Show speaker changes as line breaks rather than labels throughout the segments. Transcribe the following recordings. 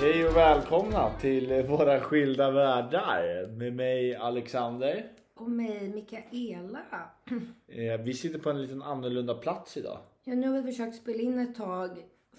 Hej och välkomna till eh, våra skilda världar med mig Alexander.
Och mig, Mikaela.
Eh, Vi sitter på en liten annorlunda plats idag.
Ja, nu har vi försökt spela in ett tag,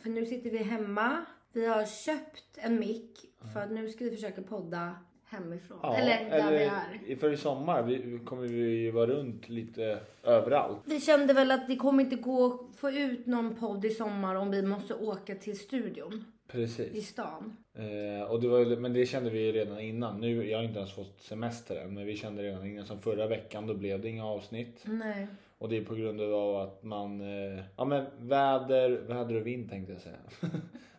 för nu sitter vi hemma. Vi har köpt en mick, för att nu ska vi försöka podda hemifrån. eller där vi är.
i- För i sommar vi, vi kommer vi ju vara runt lite överallt.
Vi kände väl att det kommer inte gå att få ut någon podd i sommar om vi måste åka till studion i
Precis.
stan.
Eh, och det var, men det kände vi ju redan innan. Nu, jag har inte ens fått semester än men vi kände redan innan. Som förra veckan då blev det inga avsnitt.
Nej.
Och det är på grund av att man... eh, Ja men väder, väder och vind tänkte jag säga.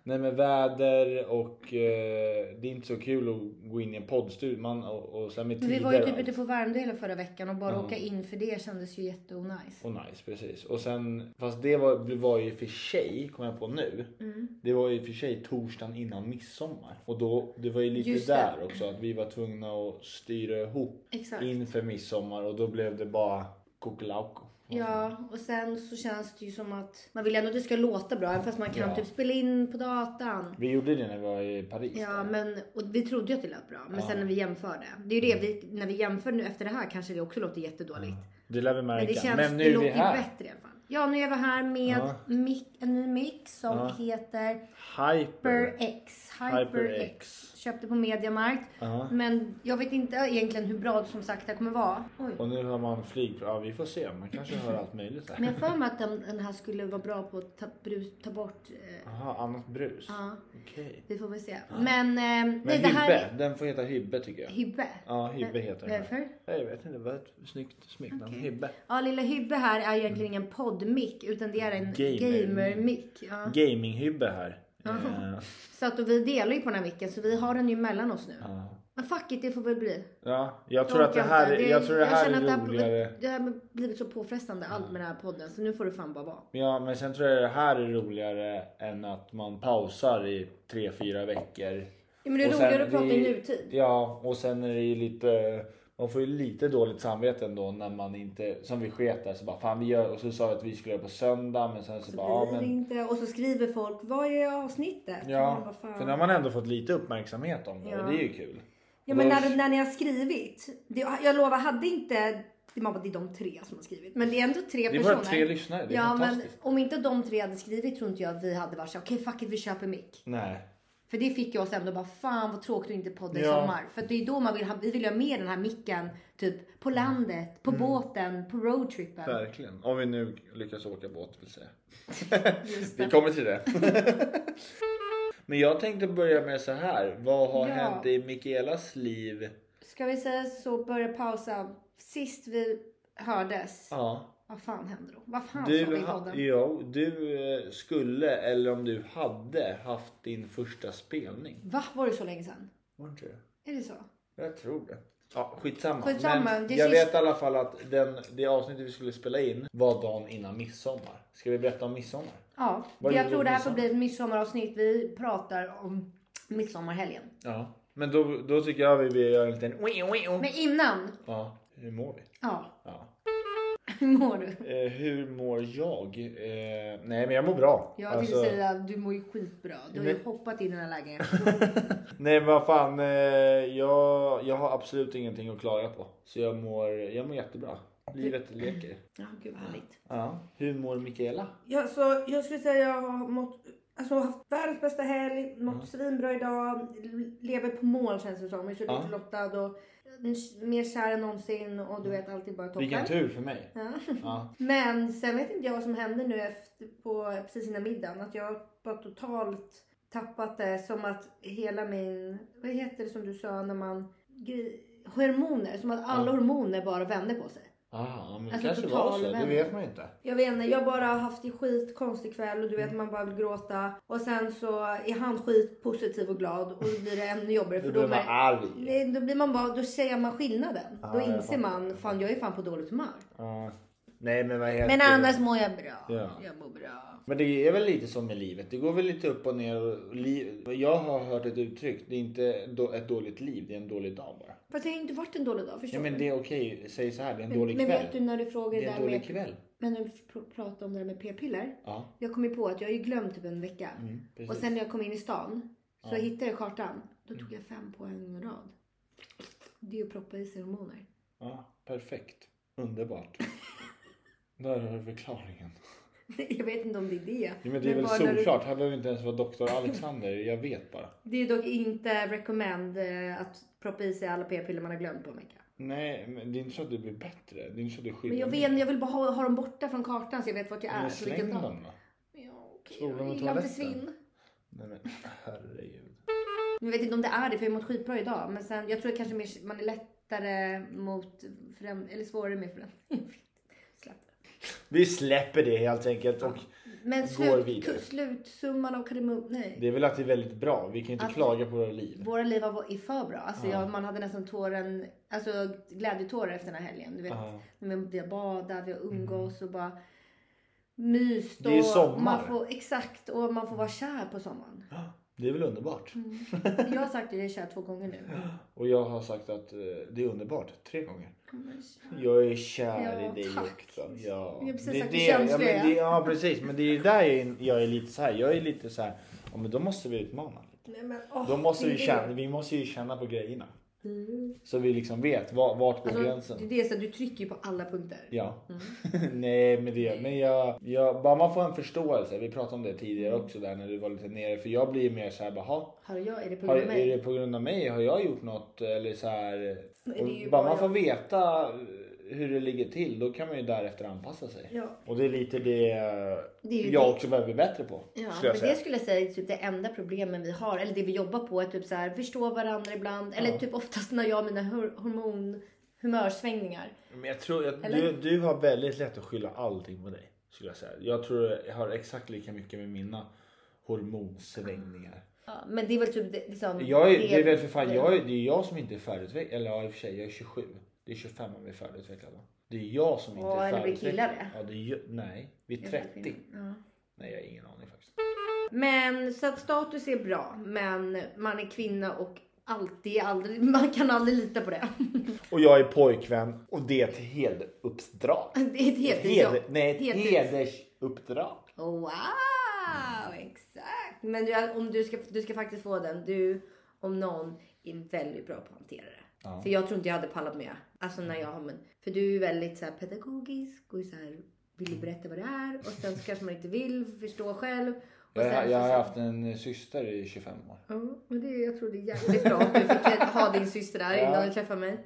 Nej men väder och eh, det är inte så kul att gå in i en poddstudio. Man, och, och sen med
Men
tider
vi var ju
och
typ
allt.
ute på Värmdö hela förra veckan och bara åka in för det kändes ju jätteonajs.
Och nice, precis. Och sen, fast det var, var ju för sig, kom jag på nu.
Mm.
Det var ju för sig torsdagen innan midsommar. Och då, det var ju lite
Just det.
där också att vi var tvungna att styra ihop
Exakt.
inför midsommar och då blev det bara kokolauko.
Ja, och sen så känns det ju som att man vill ändå att det ska låta bra, även fast man kan
Ja.
typ spela in på datan.
Vi gjorde det när vi var i Paris.
Ja,
där.
men och vi trodde ju att det lät bra. Men sen när vi jämförde. Det är ju det,
Mm.
vi, när vi jämför nu efter det här kanske det också låter jättedåligt.
Det lär vi märka.
Men det känns,
Men nu
det
är
låter
vi
ju
här.
bättre i alla fall. Ja, nu är vi här med
Ja.
mic, en ny mix som
Ja.
heter
Hyper.
HyperX.
HyperX.
HyperX. Köpte på Mediamarkt.
Ja.
Men jag vet inte egentligen hur bra som sagt det kommer vara. Oj.
Och nu hör man flyg. Ja, vi får se. Man kanske hör allt möjligt
Men
här.
jag har för mig att den, den här skulle vara bra på att ta, brus, ta bort. Eh,
Jaha, annat brus.
ja,
Okej.
vi får väl se. Men, eh,
Men
nej, det här
Hybbe,
är
den får heta Hybbe tycker jag.
Hybbe.
Ja, Hybbe heter den.
Varför?
Nej, Jag vet inte, det var ett snyggt smeknamn.
Okej.
Hybbe.
Ja, lilla Hybbe här
Mm.
är ju egentligen ingen poddmick utan det är en
Gamer-mick.
gamer-mick.
Mm.
Ja.
Gaming-Hybbe här.
Jaha.
Eh,
Så att och vi delar ju på den här micken så vi har den ju mellan oss nu.
ja.
Men fuck it, det får väl bli.
Ja, jag tror att det
orkar
här,
inte.
jag tror det här
känner
är
att det
roligare.
Har, det har blivit så påfrestande allt med den här podden så nu får det fan bara vara.
Ja, men sen tror jag det här är roligare än att man pausar i tre fyra veckor.
Ja, men det är
Och sen
roligare att prata
det-
i nutid.
Ja, och sen är det ju lite... Man får ju lite dåligt samvete ändå när man inte... Som vi sket där så bara fan vi gör... Och så sa vi att vi skulle göra på söndag men sen så,
Så
bara
blir
ja
det
men...
inte. Och så skriver folk, vad är avsnittet? Man
Ja,
bara, fan.
för nu har man ändå fått lite uppmärksamhet om det och
Ja.
det är ju kul.
Ja
Och
men
då-
när, när ni har skrivit. Det, jag lovar, hade inte... Man bara, det är de tre som har skrivit. Men det är ändå tre
Det är
personer.
våra tre lyssnare, det är
ja, men
fantastiskt.
om inte de tre hade skrivit tror inte jag att vi hade varit så okej fuck it, vi köper mick.
Nej.
För det fick jag sen då bara, fan vad tråkigt att inte podda i
Ja.
sommar. För att det är då man vill ha, vi vill ju ha med den här micken typ
Mm.
på landet, på båten, på roadtrippen.
Verkligen. Om vi nu lyckas åka båt vill säga.
Just
Vi
det.
kommer till det. men jag tänkte börja med så här. Vad har
Ja.
hänt i Mikaelas liv?
Ska vi säga så, börja pausa. Sist vi hördes,
Ja.
vad fan hände då? Vad fan sa vi
Du,
Alltså, i
ha,
podden?
jo, du eh, skulle, eller om du hade, haft din första spelning.
Va, var det så länge sedan?
Var inte det?
Är det så?
Jag tror det. Ja, skitsamma.
Skitsamma,
Men
det
jag
sist-
vet i alla fall att den, det avsnittet vi skulle spela in var dagen innan midsommar. Ska vi berätta om midsommar?
Ja,
Vad
jag
gjorde
tror
du
det här
på
får bli ett midsommaravsnitt. Vi pratar om midsommarhelgen.
Ja. Men då, då tycker jag vi gör en liten...
Men innan,
Ja. Hur mår vi?
ja,
Ja.
hur mår du?
Eh, hur mår jag? Eh, nej men jag mår bra.
Jag
Alltså-
tänkte säga att du mår ju skitbra. Du har
Men-
ju hoppat in i den här lägenheten.
Nej men vad fan. Eh, jag, jag har absolut ingenting att klaga på. Så jag mår, jag mår jättebra. Livet leker.
Ja, gud vad härligt.
Ja. Hur mår Mikaela?
Ja, så jag skulle säga jag har mått, alltså, haft världens bästa helg, mått svinbra idag, l- lever på mål känns det som. Jag är så
Ja.
lyckligt lottad och eh, mer kär än någonsin och du vet allt är bara toppen.
Mm. Vilken tur för mig.
Ja.
Ja.
Men sen vet inte jag vad som hände nu efter, på, precis innan middagen. Att jag bara totalt tappat det som att hela min, vad heter det som du sa när man, gri- hormoner, som att alla
Ja.
hormoner bara vände på sig.
Ah, men
Alltså,
kanske
total
var så. Det
vändning.
vet man ju inte.
Jag vet inte, jag bara har haft en skitkonstig kväll och du
Mm.
vet man bara vill gråta. Och sen så är han skitpositiv och glad och då blir det ännu jobbigare.
Nu
För då,
blir man
mär-
arg.
Nej, då blir man bara, då ser man skillnaden.
Ja,
då
jag
inser
fattar.
man, fan jag är fan på dåligt humör.
Ja. Nej men vad heter
Men
det?
annars mår jag bra.
Ja.
Jag mår bra.
Men det är väl lite som med livet. Det går väl lite upp och ner. och li- Jag har hört ett uttryck. Det är inte då- ett dåligt liv. Det är en dålig dag bara.
Fast det har ju inte varit en dålig dag, förstår
Ja, men
du?
det är okej. Säg så här. Det är en
Men-
dålig
men
kväll.
vet du när du frågar
det
det
är
där
en dålig
med...
kväll.
Men när du pr- pratar om det där med p-piller.
Ja.
Jag kom ju på att jag har ju glömt typ en vecka.
Mm, precis.
och sen när jag kom in i stan så
Ja. Mm.
hittade jag kartan. Då tog jag fem på en rad. Det är ju att proppa i sig hormoner.
Ja, perfekt. Underbart. Där har du förklaringen.
jag vet inte om det är det.
Ja, men det är väl
bara när
solklart. Här behöver inte ens vara doktor Alexander. Jag vet bara.
Du, det är dock inte recommend eh, att proppa i sig alla p-piller man har glömt på en vecka.
Nej, men det är inte så att det blir bättre. Det är inte så att det skiljer.
Men jag vet inte, jag vill bara ha, ha dem borta från kartan så jag vet vart jag är.
Men
på vilken
släng
dag.
dem då.
Ja, okej.
Spola
Jag
med
gillar inte
toaletten.
svinn.
Nej men herregud.
Jag vet inte om det är det, för jag har mått skitbra idag. Men sen, jag tror kanske mer, man är lättare mot förändring, eller svårare med förändring. Släpp.
Vi släpper det helt enkelt. Och
Men
Går vidare.
slut, slutsumman av kardemumman, nej.
det är väl att det är väldigt bra. Vi kan ju inte
Att-
klaga på våra liv.
Våra liv var i för bra. Alltså
Ja.
jag, man hade nästan tåren, alltså glädjetårar efter den här helgen. Du vet,
Ja. Mm.
när vi har badat, vi har umgås och bara myst.
Det är
och
sommar.
Man får, exakt, och man får vara kär på sommaren.
Det är väl underbart.
Jag har sagt att jag är kär två gånger nu.
Och jag har sagt att eh, det är underbart. Tre gånger.
Men kär.
Jag är kär
Ja,
i dig
tack.
också. Ja.
Jag har precis
Det är
sagt hur
det, ja, men
känslig jag är.
det, ja precis. Men det är där jag är, jag är lite så här. Jag är lite så här. Ja, men då måste vi utmana.
Nej, men, åh,
Då måste
det är
vi
det.
känna. Vi måste ju känna på grejerna. Så vi liksom vet var, vart går
Alltså,
gränsen.
det är det, så att du Mm. trycker ju på alla punkter.
Ja. Nej men det men jag, jag, bara man får en förståelse. Vi pratade om det tidigare
Mm.
också där när du var lite nere. För jag blir mer så här, bara,
Har jag, är det på
har,
grund av
är det
mig?
på grund av mig? Har jag gjort något? Eller så här,
Nej, det är ju
och bara
bara
man får
jag.
veta eh, hur det ligger till. Då kan man ju därefter anpassa sig.
Ja.
Och det är lite det,
Det är ju
jag
det.
också behöver bli bättre på.
Ja,
skulle
men
jag säga.
det skulle jag säga är typ det enda problemen vi har, eller det vi jobbar på, är typ så här, förstå varandra ibland, eller typ oftast när jag har mina hor- hormon, humörsvängningar.
Men jag tror att
Eller?
du, du har väldigt lätt att skylla allting på dig. Skulle jag säga. Jag tror jag har exakt lika mycket med mina hormonsvängningar.
Ja, men det är väl typ det, liksom,
Jag är, det är väl för fan, jag är, det är jag som inte är färdigutvecklad. Eller ja, i och för sig, jag är 27. Det är 25 om vi är färdigutvecklade. Det är jag som inte
Ja,
är
eller blir
färdigutvecklad.
killar det?
Ja, det är, ju- nej, vi är 30.
Ja.
Nej, jag har ingen aning faktiskt.
Men så att status är bra, men man är kvinna och alltid, aldrig, man kan aldrig lita på det.
Och jag är pojkvän och det är ett hedersuppdrag.
Det är ett
Ett
heltidsjobb.
heder, nej, ett
Heltids-
hedersuppdrag.
Wow,
Mm.
exakt. Men du, om du, ska, du ska faktiskt få den. Du, om någon, är väldigt bra på att hantera det. För jag tror inte jag hade pallat med. Alltså när
Mm.
jag har men, För du är ju väldigt så här pedagogisk och så här, vill berätta vad det är. Och sen så kanske man inte vill förstå själv. Och sen,
Jag,
så-
jag har haft en eh, syster i 25 år.
Ja, och det, jag tror det är jävligt bra att du fick ha din syster här
Ja.
innan du träffade mig.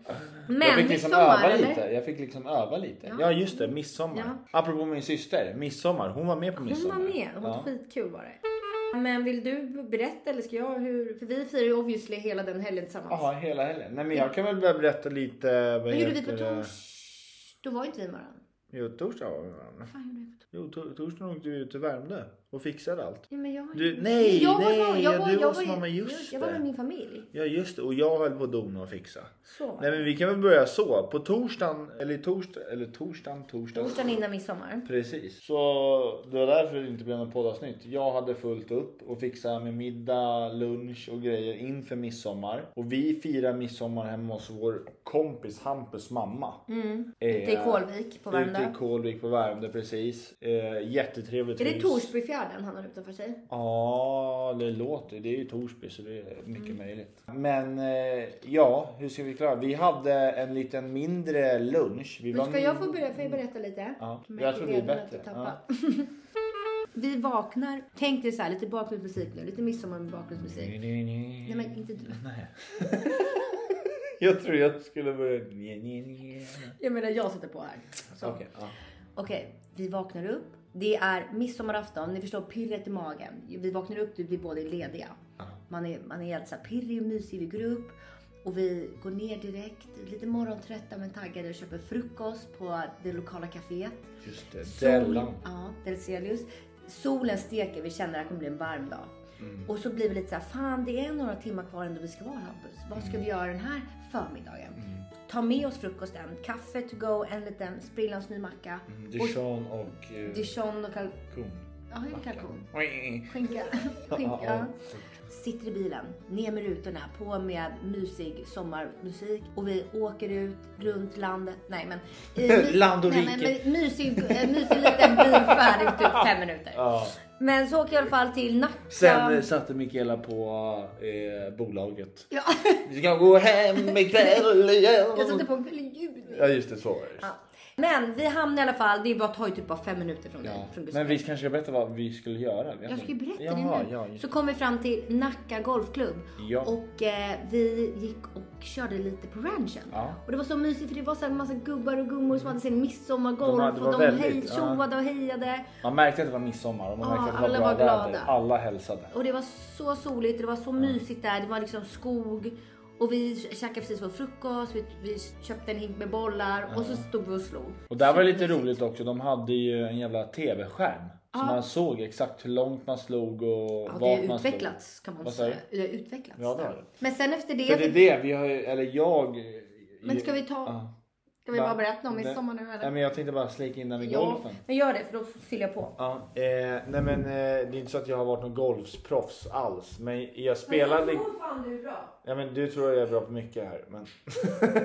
Men
jag fick liksom
midsommar,
öva
eller?
lite. Jag fick liksom öva lite.
Ja.
Ja, just det, midsommar.
Ja.
Apropå min syster, midsommar. Hon var med på
Hon
midsommar.
var med. Hon var
Ja.
skitkul var det. Men vill du berätta eller ska jag? Hur? För vi firar ju obviously hela den helgen tillsammans.
Jaha, hela helgen. Nej men jag kan väl börja berätta lite. Vad
Mm. Vad gjorde vi på
heter eh, det?
tors? Då var inte vi med varandra.
Jo, torsdag var vi med varandra.
Vad fan gjorde vi på tors?
Jo, to- torsdagen åkte vi ut till Värmdö och fixade allt.
Ja, men jag var ju-
Du, nej,
jag var,
nej,
jag var, jag var,
du
jag
var
var, ju-
mamma,
jag,
just
jag var
det.
med min familj.
Ja, just det. Och jag höll på att dona och fixa.
Så var
Nej men
det.
vi kan väl börja så. På torsdagen, eller torsdag, eller torsdagen, torsdagen.
Torsdagen innan midsommar.
Precis. Så det var därför det inte blev något poddavsnitt. Jag hade fullt upp och fixa med middag, lunch och grejer inför midsommar. Och vi firar midsommar hemma hos vår kompis Hampus mamma. Mm.
Ute i Kålvik på Värmdö.
Ute i Kålvik på Värmdö precis. Eh, jättetrevligt
Är det
hus.
Torsbyfjärden han har utanför sig?
Ja, det låter. Det är ju Torsby så det är mycket
Mm.
möjligt. Men eh, ja, hur ska vi klara? Vi hade en liten mindre lunch. Vi
Men
var-
ska jag få börja? Får jag berätta lite?
Ja,
Som
jag tror det är
redan har
bättre.
tappat. Vi vaknar. Tänk dig så här, lite bakgrundsmusik nu. Lite midsommar med bakgrundsmusik.
Mm.
Nej men inte du.
Nej. jag tror jag skulle börja...
Jag menar jag sätter på här. Så.
Okej, ja.
Okej, vi vaknar upp. Det är midsommarafton, ni förstår pirret i magen. Vi vaknar upp, vi blir båda lediga. Man är, man är helt så här pirrig och mysig, vi går upp. Och vi går ner direkt, lite morgontrötta men taggade och köper frukost på det lokala kaféet.
Just det,
Sol-
Dellan.
Ja, Delselius. Solen steker, vi känner att det kommer bli en varm dag. Och så blir vi lite så här, fan det är några timmar kvar ändå vi ska vara Hampus. Vad ska vi göra den här förmiddagen? Ta med oss frukosten, kaffe to go, en liten sprillans ny macka.
Mm, Dijon och eh,
Dijon och kalkon.
kalkon.
Ja, hur är det kalkon?
Oi.
Skinka.
Ja, ja.
Skinka. Sitter i bilen, ner med rutorna, på med mysig sommarmusik och vi åker ut runt landet. Nej men... eh, my-
Land och
nej,
rike.
Men, men, mysig, eh, mysig liten bil färdig på typ fem minuter.
Ja.
Men så åker jag i alla fall till Nacka.
Sen eh, satte Mikaela på eh, bolaget.
Ja,
Vi ska gå hem ikväll
jag satte
igen.
på en väldig ljud.
Ja just det, så var det.
Ja. Men vi hamnar i alla fall, det är bara, tar ju typ bara fem minuter från,
Ja.
dig, från
Men
bussen.
vi kanske ska berätta vad vi skulle göra. Vi
Jag ska ju berätta
Jaha,
det nu.
Ja, just...
så kom vi fram till Nacka Golfklubb
Ja.
och eh, vi gick och körde lite på ranchen.
Ja. Mm.
Och det var så mysigt för det var så här en massa gubbar och gummor som hade sin midsommargolf
De hade- det var
och de
väldigt,
hej,
ja.
tjoade och hejade.
Man märkte att det var midsommar och man
Ja,
märkte att det
alla
var
var
bra
glada.
väder. Alla hälsade.
Och det var så soligt och det var så mysigt där. Det var liksom skog. Och vi käkade precis vår frukost, vi, vi köpte en hink med bollar och så stod vi och slog.
Och där var det lite
Supermysigt.
roligt också. De hade ju en jävla tv-skärm. Så man såg exakt hur långt man slog och
Ja,
vart
det har
man slog.
utvecklats kan man
Vad sa
säga.
du?
Det har utvecklats.
Ja, det har det.
Men sen efter det...
För det är det vi har ju, eller jag.
Men ska vi ta-
Ja.
Ska vi bara
Va?
berätta om
Nej.
midsommar nu eller?
Nej men jag tänkte bara slika in den i
ja,
golfen.
men gör det för då fyller jag på.
Ja, eh, nej men eh, det är inte så att jag har varit någon golfsproffs alls. Men jag spelar... li-
fan du är bra.
Ja, men du tror jag är bra på mycket här. Men...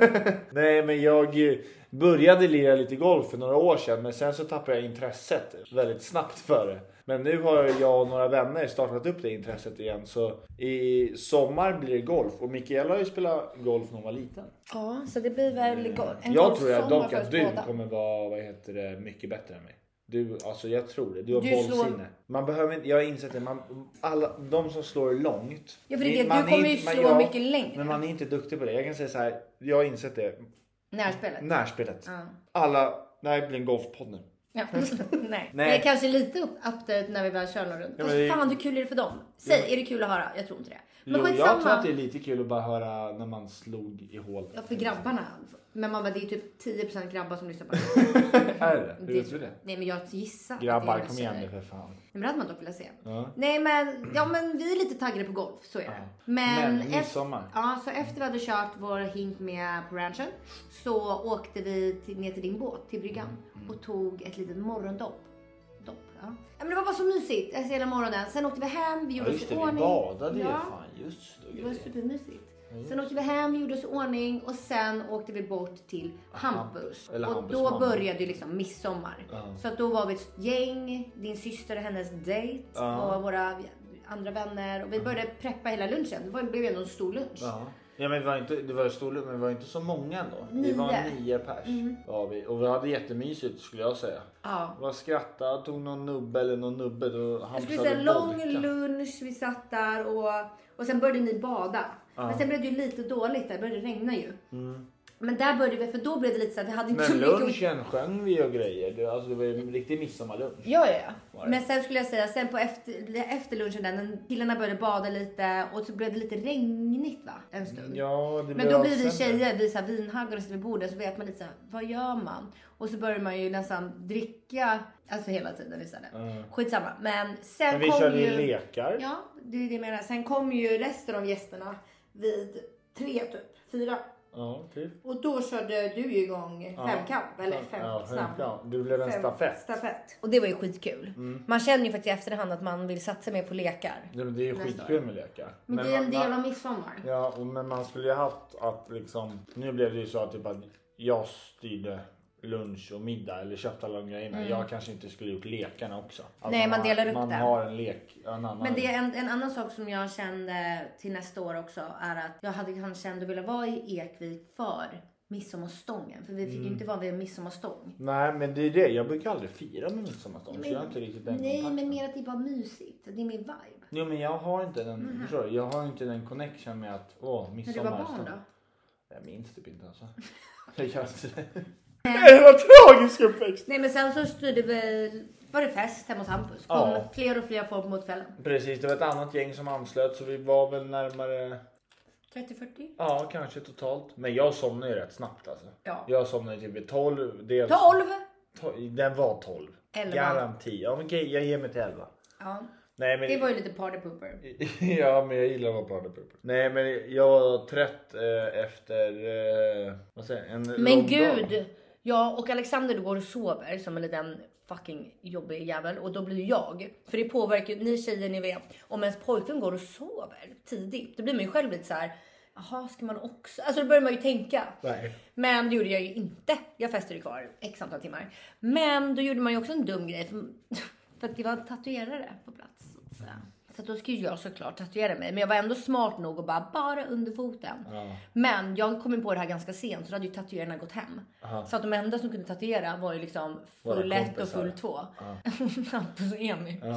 Nej, men jag eh, började lira lite golf för några år sedan, men sen så tappade jag intresset väldigt snabbt för det. Men nu har jag och några vänner startat upp det intresset igen, så i sommar blir det golf. Och Mikaela har ju spelat golf när hon var liten.
Ja, så det blir väl en golfsommar
Mm. jag tror jag dock
för oss
att du
båda.
kommer vara, vad heter det, mycket bättre än mig. Du, alltså jag tror det. Du har
Du
bollsinne.
slår-
Man behöver inte, jag har insett det. Man, alla, de som slår långt.
Ja, för det är
ni-
det.
man
Du kommer ju
inte- man-
slå mycket längre.
Men man är inte duktig på det. Jag kan säga så här. Jag har insett det.
Närspelet.
Närspelet.
Ja.
Alla, det här blir en golfpodd nu.
Ja. Nej.
Nej.
Nej. Kanske lite upp update när vi väl kör någon runda.
Ja,
Fast
men det-
Fan hur kul är det för dem? Säg, är det kul att höra? Jag tror inte det. Men
Jo,
skitsamma.
jag tror att det är lite kul att bara höra när man slog i hål.
Ja, för grabbarna. Men man bara, det är typ 10% grabbar som lyssnar på
Är det? Hur
det.
vet du det?
Nej men jag gissar. att det är
Grabbar,
några
kom igen
tjejer.
nu för fan.
Nej, Men det hade man dock velat se.
Ja.
Nej men, ja men vi är lite taggade på golf, så är det.
Ja.
Men,
Men midsommar.
Efter, ja, så efter vi hade kört vår hink med på ranchen så åkte vi till, ner till din båt, till bryggan
Mm.
och tog ett litet morgondopp. Dopp, ja. ja. Men det var bara så mysigt, alltså hela morgonen. Sen åkte vi hem, vi
Ja,
gjorde
just det,
oss i
vi
ordning.
badade ju.
ja,
Fan, just
det var
det.
supermysigt. Sen åkte vi hem, gjorde oss i ordning och sen åkte vi bort till Hampus.
Eller
och
Hampus
då
mamma.
började ju liksom midsommar.
Ja.
Så att då var vi ett gäng, din syster och hennes dejt
Ja.
och våra andra vänner. Och vi började preppa hela lunchen. Det var- det blev ju ändå en stor lunch.
Ja. Ja, men det var inte, det var stor men det var inte så många ändå. Vi var
Nio. Mm.
nio pers. Var vi. Och vi hade jättemysigt skulle jag säga.
Ja.
Var skrattade, tog någon nubbe eller någon nubbe. Då
Jag skulle
hamsade
säga lång
vodka.
lunch, vi satt där och, och sen började ni bada. Men sen blev det ju lite dåligt där, det började regna ju. Men där började vi, för då blev det lite så att vi hade inte
Mm. Men
så mycket att
lunchen sjöng vi och grejer. Det, alltså, det var ju en riktig midsommarlunch.
Ja, ja, ja.
det.
Men sen skulle jag säga, sen på efter, efter lunchen där, när killarna började bada lite och så blev det lite regnigt va? En stund.
Mm, Ja, det
Men då blir vi
avsändare.
tjejer, vi så här vinhaggar och sitter vid bordet så vet man lite så här, vad gör man? Och så börjar man ju nästan dricka, alltså hela tiden istället.
Mm.
Skitsamma. Men sen
Men vi
kom
körde ju
ju...
lekar.
Ja, det är det jag menar. Sen kom ju resten av gästerna vid tre typ, fyra.
Ja, typ.
Och då körde du ju igång
Ja.
femkamp, eller fem
ja,
snabb.
femkamp. Det blev en
Fem-
stafett. Mm.
stafett. Och det var ju skitkul. Man känner ju faktiskt i efterhand att man vill satsa mer på lekar.
Ja, men Det är ju
Nästa
skitkul med lekar.
Men, det är en
man-
del
man-
av midsommar.
Ja, och, men man skulle ju haft att liksom... Nu blev det ju så att, typ att jag styrde lunch och middag eller köpte alla de grejerna. Jag kanske inte skulle gjort lekarna också. Att
Mm. Nej, man delar
har,
upp
man
det.
har en lek, en annan.
Men det är en, en annan sak som jag kände till nästa år också är att jag hade kanske ändå velat vara i Ekvik för midsommarstången. För vi fick ju
Mm.
inte vara vid en midsommarstång.
Nej, men det är det. Jag brukar aldrig fira med midsommarstång. så jag har inte riktigt den
nej,
kontakten.
men mer att det är bara mysigt. Det är min vibe.
Jo men jag har inte den, förstår du? Jag har inte den connection med att åh,
Mm. När du
midsommar.
var barn då?
Jag minns typ inte alltså. Jag gör inte det. Nej, det var tragisk uppväxt.
Nej, men sen så styrde vi... Var det fest hemma hos Hampus? Kom
Ja.
fler och fler folk mot kvällen.
Precis, det var ett annat gäng som anslöt så vi var väl närmare
30-40?
Ja, kanske totalt. Men jag somnar ju rätt snabbt alltså.
Ja.
Jag somnade typ vid 12. Dels...
12!
To- Den var 12.
Elva.
Garanti. Ja, men okej, jag ger mig till 11.
Ja.
Nej, men...
Det var ju lite party pooper.
ja, men jag gillar att vara partypooper. Nej, men jag var trött eh, efter eh, vad säger, jag, en lång
Men gud! Jag och Alexander går och sover som en liten fucking jobbig jävel och då blir jag, för det påverkar ju, ni tjejer ni vet, om ens pojkvän går och sover tidigt, då blir man ju själv lite så här. jaha ska man också, alltså då börjar man ju tänka.
Nej.
Men det gjorde jag ju inte. Jag festade ju kvar x antal timmar. Men då gjorde man ju också en dum grej. För, för att det var tatuerare på plats. Så, att säga. så att då skulle jag såklart tatuera mig. Men jag var ändå smart nog och bara, bara under foten.
Ja.
Men jag kom ju på det här ganska sent så då hade ju tatuerarna gått hem.
Aha.
Så att de enda som kunde tatuera var ju liksom
Våra
full ett och
kompisar.
full två.
Ja.
Hampus och Emil.
Ja. eh,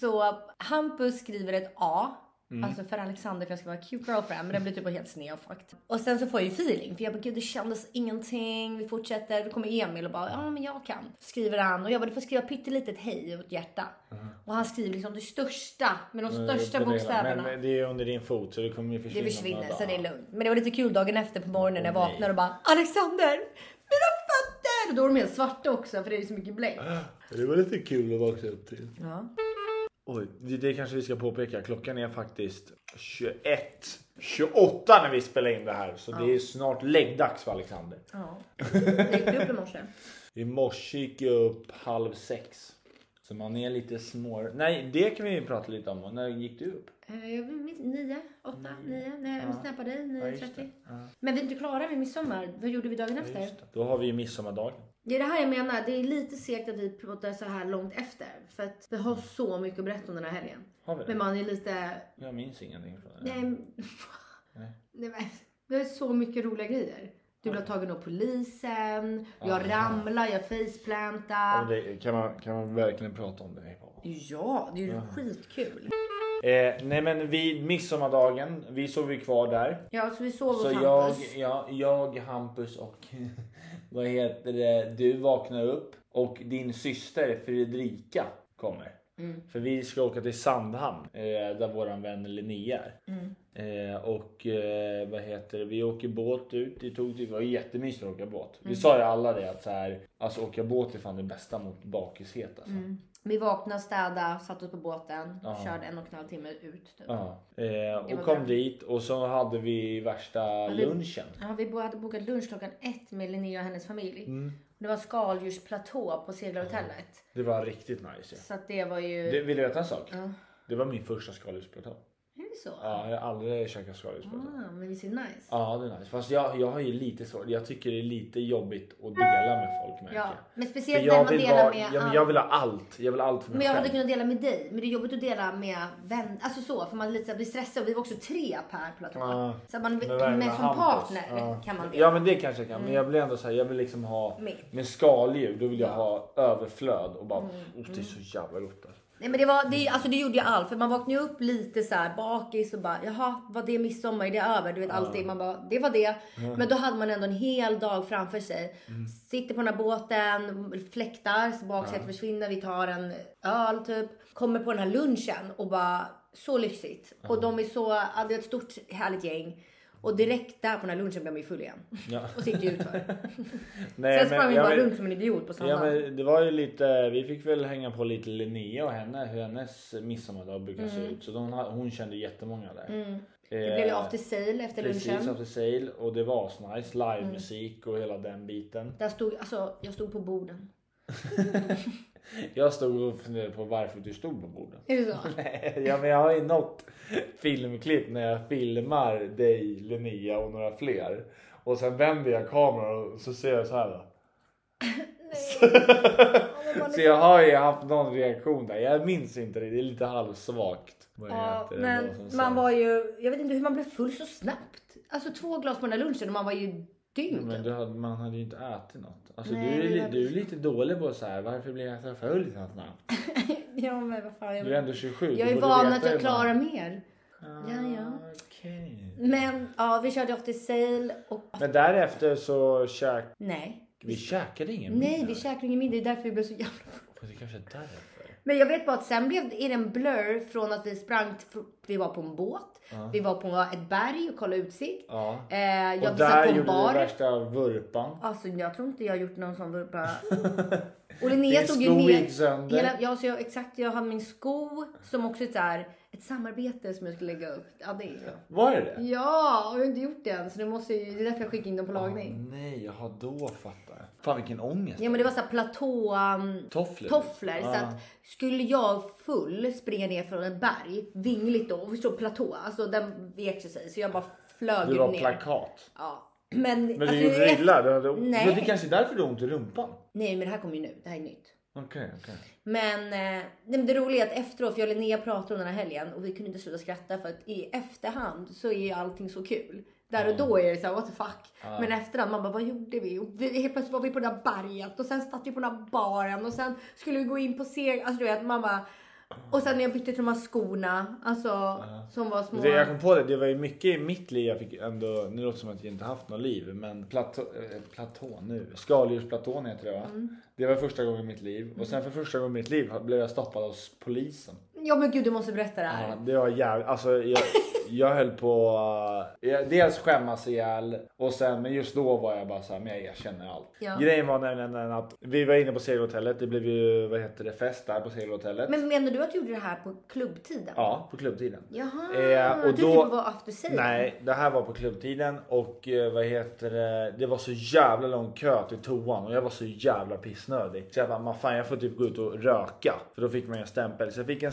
Så Hampus skriver ett A.
Mm.
Alltså för Alexander för jag ska vara cute girlfriend men den blir typ helt sned och fucked. Och sen så får jag ju feeling för jag bara gud det kändes ingenting, vi fortsätter. Då kommer Emil och bara ja men jag kan. Skriver han och jag bara du får skriva pyttelitet hej och ett hjärta.
Uh-huh.
Och han skriver liksom det största med de största
Men-
bokstäverna.
Men det är under din fot så det kommer ju försvinna.
det försvinner
några
så det är
dagar.
lugnt. Men det var lite kul dagen efter på morgonen när jag
Åh, nej.
vaknar och bara Alexander mina fötter! Och då är de helt svarta också för det är ju så mycket bläck.
Det var lite kul att vakna upp till.
Ja.
Oj, det, det kanske vi ska påpeka. Klockan är faktiskt 21. 28 när vi spelar in det här. Så det är snart läggdags för Alexander.
ja. Jag gick upp i morse.
I morse gick jag upp halv sex. Så man är lite smår. Nej, det kan vi ju prata lite om. När gick du upp?
Eh, Jag minns nio, åtta, nio. När jag
Ja.
snappade dig,
Ja, just
9.30. Men vi är inte klara med midsommar. Vad gjorde vi dagen efter?
Just det. Då har vi ju midsommardagen.
Det är det här jag menar. Det är lite segt att vi pratar så här långt efter. För att vi har så mycket att berätta om den här helgen.
Har vi det?
Men man är lite...
Jag minns ingenting från det.
Nej.
Nej.
Nej men. Vi har så mycket roliga grejer. Du blev tagen av polisen. Jag ramlade, jag
Ja,
faceplantade.
det kan, man, kan man verkligen prata om det?
Ja, det är ju skitkul.
Eh, nej men vid midsommardagen, vi sov ju kvar där.
Ja, så vi sov hos
Så jag,
Hampus.
ja, jag, Hampus och vad heter det, du vaknar upp och din syster Fredrika kommer.
Mm.
För vi ska åka till Sandhamn eh, där våran vän Linnea är.
Mm.
Eh, och eh, vad heter det, vi åker båt ut. Det, tog, det var jättemysigt att åka båt.
Mm.
Vi sa ju alla det att så här, alltså åka båt är fan det bästa mot bakishet alltså.
Mm. Vi vaknade, städade, satt oss på båten.
Ja.
Körde en och en halv timme ut. Typ.
Ja. Eh,
Det
och
var
kom
bra.
dit och så hade vi värsta
det-
lunchen.
Ja, vi bo- hade bokat lunch klockan ett med Linnea och hennes familj.
Mm.
Det var skaldjursplatå på seglarhotellet.
Det var riktigt nice. Ja.
Så att det var ju...
Du, vill du veta en sak?
Eh. Ja.
Det var min första skaldjursplatå.
Är det så?
Ja, jag har aldrig käkat skaldjursplatå.
Ah, men visst är det nice?
Ja, det är nice. Fast jag, jag har ju lite svårt. Jag tycker det är lite jobbigt att dela med folk märker
Ja,
jag.
men
För
speciellt när
jag
man
vill,
delar
vara,
med...
ja, men
an-
jag vill ha allt. Jag vill ha allt för mig
men jag hade
själv.
kunnat dela med dig, men det är jobbigt att dela med vänner. Alltså så, för man är lite så här, blir stressad och vi var också tre per platå.
Ja.
Så att man
Men vad är det Ah,
med
med
som
Hampus? Ah.
partner
Ja.
kan man dela.
Ja men det kanske jag kan. Men jag blir ändå så här, jag vill liksom ha
Mitt. Mm.
med skaldjur. Då vill jag ha överflöd och bara, "Åh, det är så jävla gott. alltså."
Nej men det var, det, alltså det gjorde jag allt. För man vaknade ju upp lite så här bakis och bara jaha, var det midsommar? Är det över? Du vet alltid. Man bara, det var det. Men då hade man ändå en hel dag framför sig.
Mm.
Sitter på den här båten, fläktar, så baksätet försvinner. Vi tar en öl typ. Kommer på den här lunchen och bara så lyxigt. Och de är så, ja, det är ett stort härligt gäng. Och direkt där på den här lunchen blir man ju full igen.
Ja.
Och sitter ju utför.
Nej,
Sen sprang vi
jag
bara
vill-
runt som en idiot på
Ja,
sandbanan.
men det var ju lite, vi fick väl hänga på lite Linnea och henne, hur hennes midsommardag brukar se ut. Så de, ha- hon kände jättemånga där.
Mm.
Eh,
Det blev ju after sale efter lunchen. Mm.
Precis, after sale. Och det var asnice. Livemusik och hela den biten.
Där stod, alltså, jag stod på borden.
Jag stod och funderade på varför du stod på borden.
Är det så?
ja, men jag har ju något filmklipp när jag filmar dig, Linnea och några fler. Och sen vänder jag kameran och så ser jag så här. Då.
liksom-
Så jag har ju haft någon reaktion där. Jag minns inte det. Det är lite halvsvagt. Vad
Ja,
heter det? Vad som
men man
sades.
var ju, jag vet inte hur man blev full så snabbt. Alltså två glas på den där lunchen och man var ju dygn.
Men du hade, man hade ju inte ätit något. Alltså,
Nej,
du, är,
vi
li-
hade-
du är lite dålig på så här. Varför blir jag så full så snabbt?
ja men vad fan.
Du är ändå 27.
jag
du
är
borde
van
veta
att
hur
jag
man-
klarar mer. Ja, ja.
Ah, okej.
Men ja, vi körde ofta sale och
Men därefter så käk...
nej.
Vi käkade ingen
Nej,
middag.
vi käkade ingen middag. Det är därför vi blev så jävla
Det kanske är därför.
Men jag vet bara att sen blev det är det en blur från att vi sprang, t- fr- vi var på en båt, vi var på ett berg och kollade utsikt.
Ja.
Eh, jag
och
satt
där
på en
gjorde du
bar.
värsta vurpan.
Alltså jag tror inte jag har gjort någon sån vurpa. Och
Din
Linnea tog ju
sko
ner.
gick sönder.
Hela, ja, så jag, exakt, jag har min sko som också är så här, ett samarbete som jag skulle lägga upp. Ja, det är
Var det det?
Ja, och jag har inte gjort det än så nu måste jag, ju- det är därför jag skickar in dem på lagning.
Ah, Nej, jaha då fattar jag. Fan vilken ångest.
Ja men det var så här platå... Um,
Tofflor.
tofflor. Så
Ah.
att skulle jag full springa ner från ett berg, vingligt då, och förstå platå, alltså den vek sig så jag bara flög
Du var
ner.
plakat.
Ja. Men,
Men
alltså,
du gjorde
efter-
dig illa? Du hade...
Nej.
Men det kanske är därför du har ont i rumpan?
Nej men det här kommer ju nu, det här är nytt.
Okej, okej.
Men, eh, nej, men det roliga är att efteråt, för jag och Linnea pratade om den här helgen och vi kunde inte sluta skratta för att i efterhand så är ju allting så kul. Där och då är det så här, what the fuck. Men efterhand, man bara, vad gjorde vi? Och vi? Helt plötsligt var vi på det där berget och sen satt vi på den där baren och sen skulle vi gå in på seger. Alltså du vet, man bara. Och sen när jag bytte till de här skorna, alltså som var små.
Det jag kom på det, det var ju mycket i mitt liv jag fick ändå, nu låter det som att jag inte haft något liv, men platå, eh, platå nu, skaldjursplatån heter det va?
Mm.
Det var första gången i mitt liv och sen för första gången i mitt liv blev jag stoppad av polisen.
Ja men gud, du måste berätta det här.
Ja, det var jävligt, alltså jag, jag höll på, eh, jag- dels skämmas ihjäl och sen, men just då var jag bara såhär, men jag erkänner allt.
Ja.
Grejen var nämligen att vi var inne på segelhotellet, det blev ju, vad heter det, fest där på segelhotellet.
Men menar du att du gjorde det här på klubbtiden?
Ja, på klubbtiden.
Jaha,
Eh, och
jag tyckte
då-
det var after sale.
Nej, det här var på klubbtiden och eh, vad heter det? Det var så jävla lång kö till toan och jag var så jävla pissnödig. Så jag bara, "Man, fan jag får typ gå ut och röka. För då fick man ju en stämpel. Så jag fick en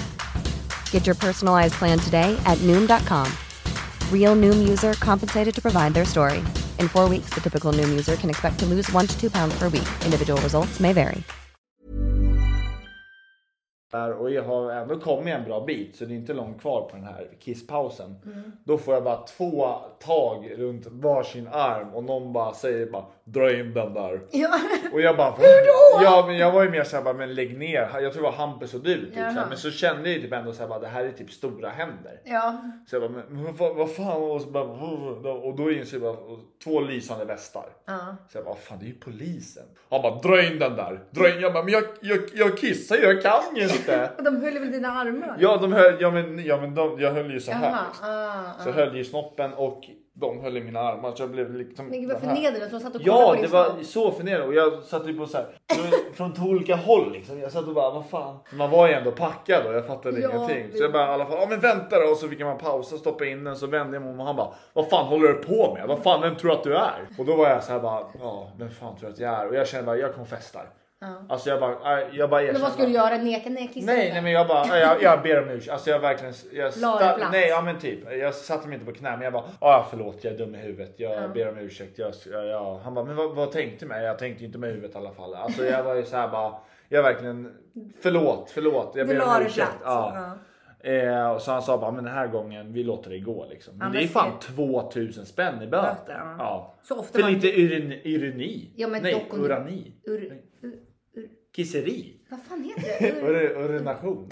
Get your personalized plan today at Noom.com. Real Noom user compensated to provide their story. In four weeks, the typical Noom user can expect to lose one to two pounds per week. Individual results may vary.
där och jag har ändå kommit en bra bit så det är inte långt kvar på den här kisspausen.
Mm.
Då får jag bara två tag runt varsin arm och någon bara säger bara dra in den där.
Ja.
Och jag bara Hur då? Ja men jag var ju mer såhär bara, men lägg ner. Jag tror det var Hampus och du typ.
Jaha.
Såhär. Men så kände jag ju typ ändå såhär bara det här är typ stora händer.
ja.
Så jag bara men vad, vad fan och så bara och då insåg jag bara och två lysande västar. Så jag bara fan det är ju polisen. Han bara dra in den där. Dra in. Jag bara men jag, jag, jag kissar ju jag kan ju inte.
Och de höll väl dina armar?
Ja, de höll, ja men, ja, men de, jag höll ju så här.
Jaha,
liksom.
ah, ah.
Så jag höll ju snoppen och de höll i mina armar. Så jag blev liksom
Men gud vad
den här.
förnedrande att de satt och kollade
Ja,
på
det
din
var
snopp.
så förnedrande. Och jag satt ju på så här, från- från två olika håll liksom. Jag satt och bara, vad fan. Man var ju ändå packad och jag fattade
Ja,
ingenting.
det-
Så jag bara i alla fall, ja men vänta då. Och så fick man pausa, stoppa in den. Så vände jag mig om och han bara, vad fan håller du på med? Vad fan, vem tror du att du är? Och då var jag så här bara, ja, vem fan tror du att jag är? Och jag kände bara, jag kommer festar. Alltså jag bara, nej, jag bara
Men
erkände
vad skulle du
bara-
göra? Neka? Nej, kissa
Nej,
inte.
nej men jag bara, jag, jag ber om ursäkt. Alltså jag verkligen, jag
La dig platt.
nej ja men typ. Jag satte mig inte på knä men jag bara, ah, förlåt jag är dum i huvudet. Jag ber om ursäkt. Jag, jag, jag. Han bara, men vad, vad tänkte du med? Jag tänkte ju inte med huvudet i alla fall. Alltså jag var ju så här bara, jag verkligen, förlåt, förlåt. Jag
Du
ber
la
om
dig
ursäkt.
platt.
Ja. Eh, och så han sa bara, men den här gången, vi låter det gå liksom. Men
Ja,
det
men
är fan
se-
2000 spänn i böter.
Böter, ja.
ja.
Så ofta
För
man-
lite ironi. ironi.
Ja, men
nej,
dock om du-
urani.
Ur, ur,
Kisseri.
vad fan heter det? Ur-
Ur, urination.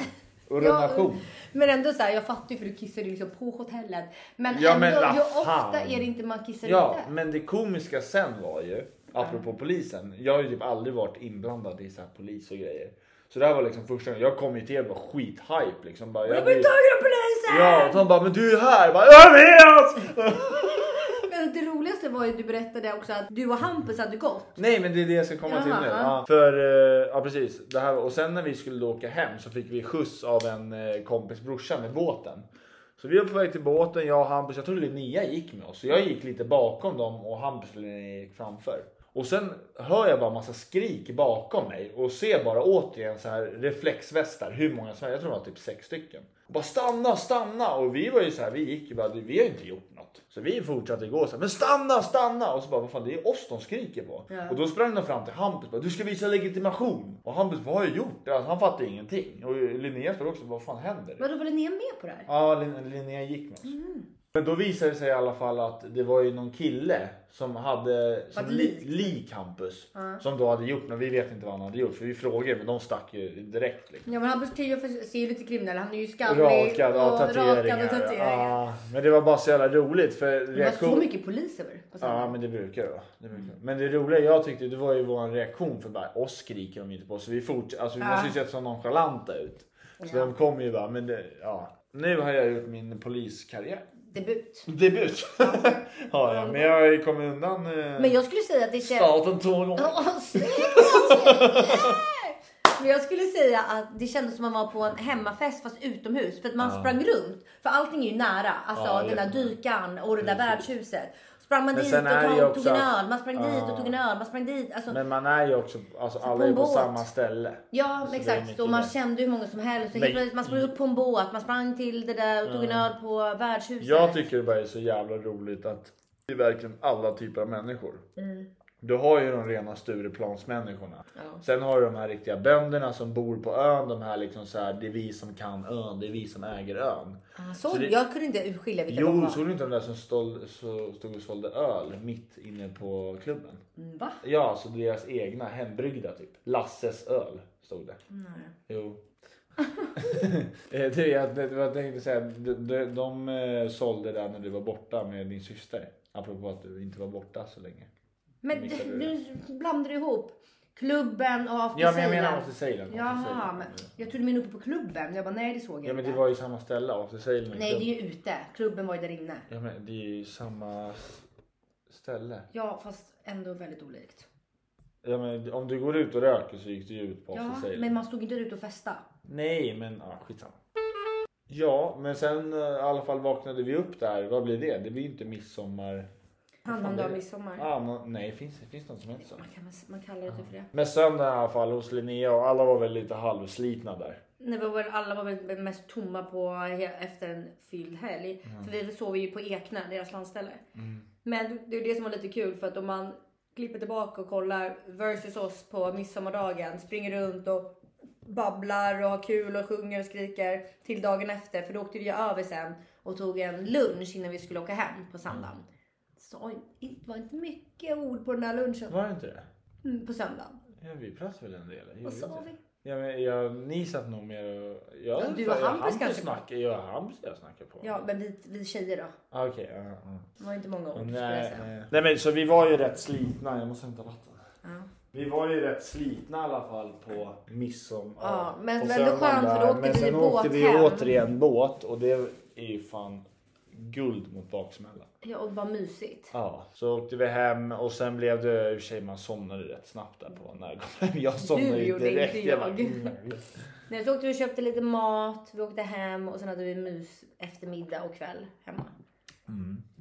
Ja,
Urination.
men ändå så här, jag fattar ju för du kissar ju liksom på hotellet. Men
Ja,
ändå,
men la
hur
fan.
ofta är det inte man kissar
Ja,
ute?
men det komiska sen var ju, apropå polisen, jag har ju typ aldrig varit inblandad i så här polis och grejer. Så det här var liksom första gången, jag kom ju till er och var skithype liksom. Bara,
Jag
jag
blir
blir-
tagen av polisen!
Ja, och de bara men du är här! Jag Bara, jag vet!
Men det roligaste var ju att du berättade också att du och Hampus hade gått.
Nej men det är det jag ska komma till
Jaha,
nu.
ja.
Ja, för, eh, ja precis. Det här, och sen när vi skulle då åka hem så fick vi skjuts av en eh, kompis brorsa med båten. Så vi var på väg till båten, jag och Hampus. Jag tror Linnea gick med oss. Så jag gick lite bakom dem och Hampus och Linnea gick framför. Och sen hör jag bara massa skrik bakom mig och ser bara återigen så här reflexvästar. Hur många som helst. Jag tror det var typ sex stycken. Och bara stanna, stanna! Och vi var ju så här, vi gick ju bara, vi har ju inte gjort något. Så vi fortsatte gå så här, men stanna, stanna! Och så bara, vad fan det är oss de skriker på.
Ja.
Och då sprang de fram till Hampus bara, du ska visa legitimation. Och Hampus, vad har jag gjort? Alltså, han fattar ju ingenting. Och Linnea står också, vad fan händer?
Vadå, Mm. var Linnea med på det här?
Ja, Lin- Linnea gick med oss. Men då visade det sig i alla fall att det var ju någon kille som hade som
Vad
li,
likt.
lik Hampus. Som då hade gjort, men vi vet inte vad han hade gjort. För vi frågade men de stack ju direkt. Liksom.
Ja men Hampus Teo ser ju lite kriminell Han är ju skallig
Rakad av
och
tatueringar.
rakad och tatueringar.
Ja, men det var bara så jävla roligt för
Det var så
reaktion.
mycket poliser över. på samma
Ja
gång.
men det brukar det vara. Det brukar.
Mm.
det vara. Men det roliga jag tyckte det var ju vår reaktion för bara oss skriker de inte på så vi fortsätter. Alltså vi måste ju se så nonchalanta ut. Så de kom ju bara men det, ja. Nu har jag gjort min poliskarriär.
Debut.
Debut. ja, ja, men jag har ju kommit undan eh,
Men jag skulle säga att det känns...
staten två gånger.
Åh, snyggt, Hampus! Yeah! Men jag skulle säga att det kändes som man var på en hemmafest fast utomhus. För att man sprang runt. För allting är ju nära. Alltså
Ja,
den där
jättenära.
dykaren och det där värdshuset. Sprang man
Men
dit och
sen är det ju
tog, tog
också
en
att-
öl. Man sprang dit och tog en öl. Man sprang dit. Alltså,
Men man är ju också, alltså alla
på
är
en
ju på
båt.
samma ställe.
Ja,
Så det är
exakt.
mycket
Och man
det.
kände hur många som helst. Så helt
Nej.
plötsligt, man sprang upp på en båt, man sprang till det där och tog en öl på värdshuset.
Jag tycker det bara är så jävla roligt att det är verkligen alla typer av människor. Du har ju de rena Stureplansmänniskorna. Sen har du de här riktiga bönderna som bor på ön. De här liksom så här, det är vi som kan ön, det är vi som äger ön.
Ah, så,
Så det-
Jag kunde inte urskilja vilka de
Jo,
var.
såg du inte de där som stål, så stod och sålde öl mitt inne på klubben?
Mm, Va?
Ja, så deras egna hembryggda typ. Lasses öl stod det.
Mm, Nej.
Jo. Eh, det, jag, det, jag tänkte säga, de, de, de eh, sålde där när du var borta med din syster. Apropå att du inte var borta så länge.
Men
Mixar du
nu blandar du ihop klubben och after
Ja men jag
sale.
menar after sailen.
Jaha, men jag trodde du menade uppe på klubben. Jag bara, nej det såg jag
Ja men
inte.
det var ju samma ställe, after sailen.
Nej, det är ju ute. Klubben var ju där inne.
Ja men det är ju samma s- ställe.
Ja, fast ändå väldigt olikt.
Ja men om du går ut och röker så gick du ju ut på after
Ja,
sailen.
men man stod inte ute och festa.
Nej, men ja, skitsamma. Ja, men sen eh, i alla fall vaknade vi upp där. Vad blir det? Det blir ju inte midsommar.
Annan
det-
dag midsommar.
Ah, man, nej, finns det finns något som heter så.
Man, kan, man kallar det typ för det.
Men söndagen i alla fall hos Linnea och alla var väl lite halvslitna där.
Nej, vi var väl, alla var väl mest tomma på he- efter en fylld helg.
Mm.
För vi sov ju på Ekna, deras landställe. Men det är det som var lite kul för att om man klipper tillbaka och kollar versus oss på midsommardagen, springer runt och babblar och har kul och sjunger och skriker till dagen efter. För då åkte vi ju över sen och tog en lunch innan vi skulle åka hem på söndagen. Så det var inte mycket ord på den där lunchen
Var det inte det?
mm, på söndagen.
Ja, vi pratade väl en del? Gjorde
Och så
inte
var
det?
vi-
Ja, men jag, ni satt nog mer och... Jag,
Ja, du och
jag-
Hampus kanske-
snackar- Jag och Hampus jag snackar på.
Ja, men vi, vi tjejer då.
Ah, Okej. ja, ja.
Det var inte många ord skulle jag
Nej,
säga.
nej. nej men så vi var ju rätt slitna. Jag måste hämta vatten. Vi var ju rätt slitna i alla fall på midsommar.
Ja, men
Och
det var ändå
söndagen
skönt, för då
där.
åkte
men
vi
sen
båt
åkte vi
hem.
återigen båt och det är ju fan guld mot baksmälla.
Ja, och vad mysigt.
Ja, så åkte vi hem och sen blev det i och för sig man somnade rätt snabbt där på närgången. Jag somnade ju
gjorde
direkt.
inte
bara,
jag.
mm.
Nej, så åkte vi och köpte lite mat, vi åkte hem och sen hade vi mys eftermiddag och kväll hemma.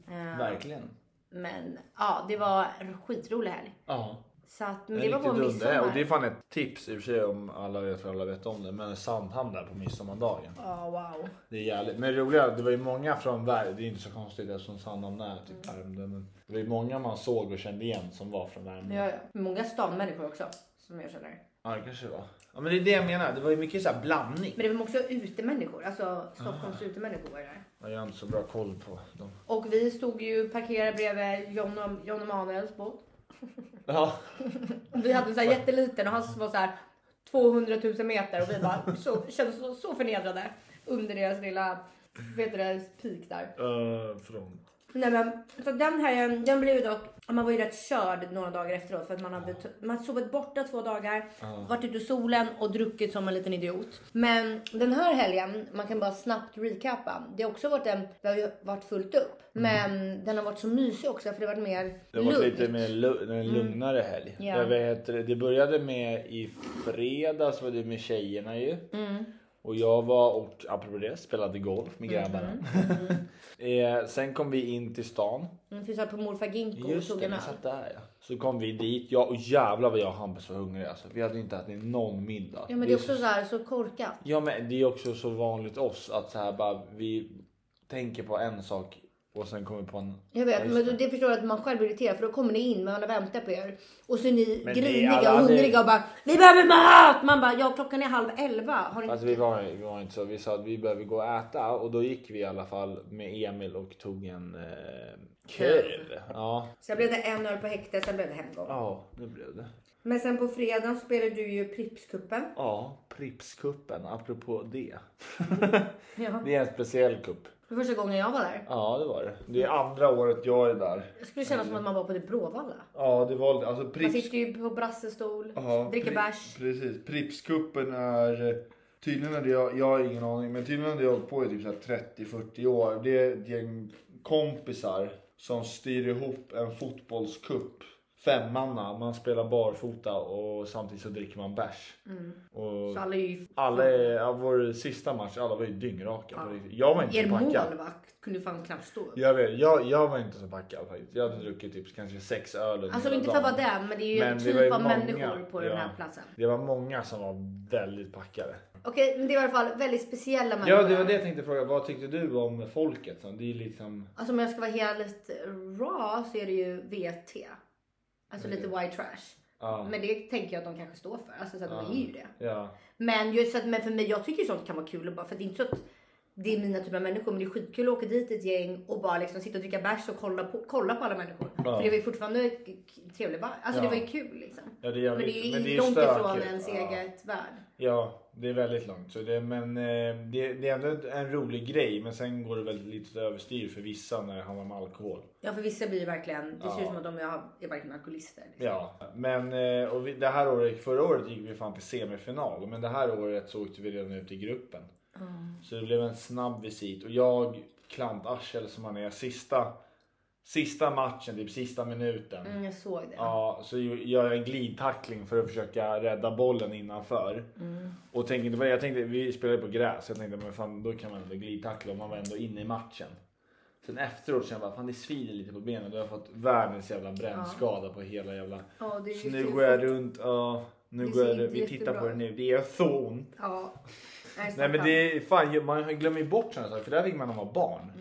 Eh,
Verkligen.
men ja, det var en skitrolig helg.
Ja.
Så att,
En
men det var
riktig
vår
dunderhelg.
midsommar.
Och det är fan ett tips i och för sig om alla, jag tror alla vet om det, men Sandhamn där på midsommardagen.
Ja, wow.
Det är jävligt. Men det roliga, är att det var ju många från Värmdö. Det är inte så konstigt eftersom Sandhamn är typ
Mm.
Värmdö. Men det var ju många man såg och kände igen som var från Värmdö.
Ja, ja. Många stanmänniskor också som jag känner.
Ja, det kanske det var. Ja, men det är det jag menar. Det var ju mycket så här blandning.
Men det var också utemänniskor, alltså
Ah.
Stockholms utemänniskor var ju där.
Ja, Jag har inte så bra koll på dem.
Och vi stod ju parkerade bredvid John, och- John Emanuels båt.
Ja,
Vi hade så här jätteliten och han var så här 200 000 meter och vi bara så, kändes så, så förnedrade under deras lilla, vet du det, peak där.
eh, från...
Nej men så den här den blev ju dock, man var ju rätt körd några dagar efteråt för att man hade man hade sovit borta två dagar, varit ute i solen och druckit som en liten idiot. Men den här helgen, man kan bara snabbt recapa. Det har också varit en, det har ju varit fullt upp. Men den har varit så mysig också för det har varit mer
Mm. Det var
lugnt. Mm.
lite mer lu- en lugnare helg. Eh,
Ja. Mm.
Det, vad heter det? det började med i fredags var det med tjejerna ju. Och jag var och apropå det spelade golf
Mm-hmm.
med grabbarna. eh, sen kom vi in till stan.
Mm, för vi satt på morfar Ginko och
Just
tog
det,
en
vi
öl.
satt där ja. Så kom vi dit. Ja, och jävlar vad jag och Hampus var hungriga. Alltså. Vi hade inte ätit någon middag.
Ja men det är också så här så korkat.
Ja men det är också så vanligt oss att så här bara vi tänker på en sak och sen kommer vi på en.
Jag
Ja,
vet,
just
men
det.
det förstår jag att man själv blir irriterad för då kommer ni in, man har väntat på er. Och så är ni
Men det är
griniga och
alla- det-
hungriga och bara Vi behöver mat! Man bara ja klockan är halv elva. Har ni...
Alltså vi var, vi var inte så. Vi sa att vi behöver gå och äta och då gick vi i alla fall med Emil och tog en eh, kurv. Ja.
Sen blev det en öl på häktet, sen blev det hemgång.
ja, det blev det.
Men sen på fredagen spelade du ju Pripskuppen.
Ja, Pripskuppen. Apropå det.
Ja.
det är en speciell kupp.
Det var första gången jag var där.
Ja, det var det. Det är andra året jag är där.
Det skulle kännas som att man var på det Bråvalla.
Ja, det var alltså
Man
Prips.
sitter ju på brassestol,
Ja,
dricker
pre-
bärs.
Precis, Pripskuppen är eh, tydligen hade jag, jag har ingen aning, men tydligen hade jag hållit på i typ så här 30-40 år. Det är ett gäng kompisar som styr ihop en fotbollskupp.
Femmanna, man spelar barfota och samtidigt så dricker man bärs. Och
Mm. Så alla är ju...
alla, är- ja, vår sista match, alla var ju dyngraka. på riktigt. Jag var inte
Er
så packad.
målvakt kunde ju fan knappt stå upp.
Jag, vet, jag, jag var inte så packad faktiskt. Jag hade druckit typ kanske sex öl under
Alltså
hela
inte för att vara
dagen.
det, men det är ju en
Men var ju
typ av
många-
människor på den här platsen.
Det var många som var väldigt packade.
Okej, men det var i alla fall väldigt speciella
Ja, det var det jag tänkte fråga. Vad tyckte du om folket? Så Det är liksom...
Alltså om jag ska vara helt raw så är det ju VT. Alltså lite white trash.
Ja.
Men det tänker jag att de kanske står för. Alltså så att de är ju det.
Ja.
Men, just att, men för mig, jag tycker ju sånt kan vara kul. Och bara, för det är inte så att det är mina typer av människor. Men det är skitkul att åka dit ett gäng och bara liksom sitta och dricka bärs och kolla på, kolla på alla människor. För det var ju fortfarande en k- trevlig var. Alltså det
Ja.
var ju kul liksom.
Ja, det är
men
jävligt-
det är ju
men det är
långt ifrån
stökigt.
ens
Ja.
eget värld.
Ja, det är väldigt långt. Så det, men eh, det, det är ändå en rolig grej. Men sen går det väl lite överstyr för vissa när det handlar om alkohol.
Ja för vissa blir ju verkligen, det ser ut som att de är, är verkligen alkoholister. Liksom.
Ja, men eh, och vi, det här året, förra året gick vi fan till semifinal. Men det här året så åkte vi redan ut i gruppen.
Mm.
Så det blev en snabb visit. Och jag, klantarsel som han är, sista, sista matchen, typ sista minuten.
Mm, jag såg det.
Ja, så gör jag en glidtackling för att försöka rädda bollen innanför.
Mm.
Och tänkte, inte på det. jag tänkte, vi spelade på gräs, jag tänkte men fan, då kan man ändå glidtackla och man var ändå inne i matchen. Sen efteråt kände jag bara, fan det svider lite på benen. Då har jag fått världens jävla brännskada på hela jävla...
Ja, det är ju
så nu
fel
går jag
fot.
runt, ja. Nu
Det
går jag
ser
runt. Vi
inte
tittar på
jättebra
det nu, det gör så ont.
Ja. Nej,
Nej men
stackarn.
det är fan, man glömmer ju bort sådana saker för där fick man när man var barn.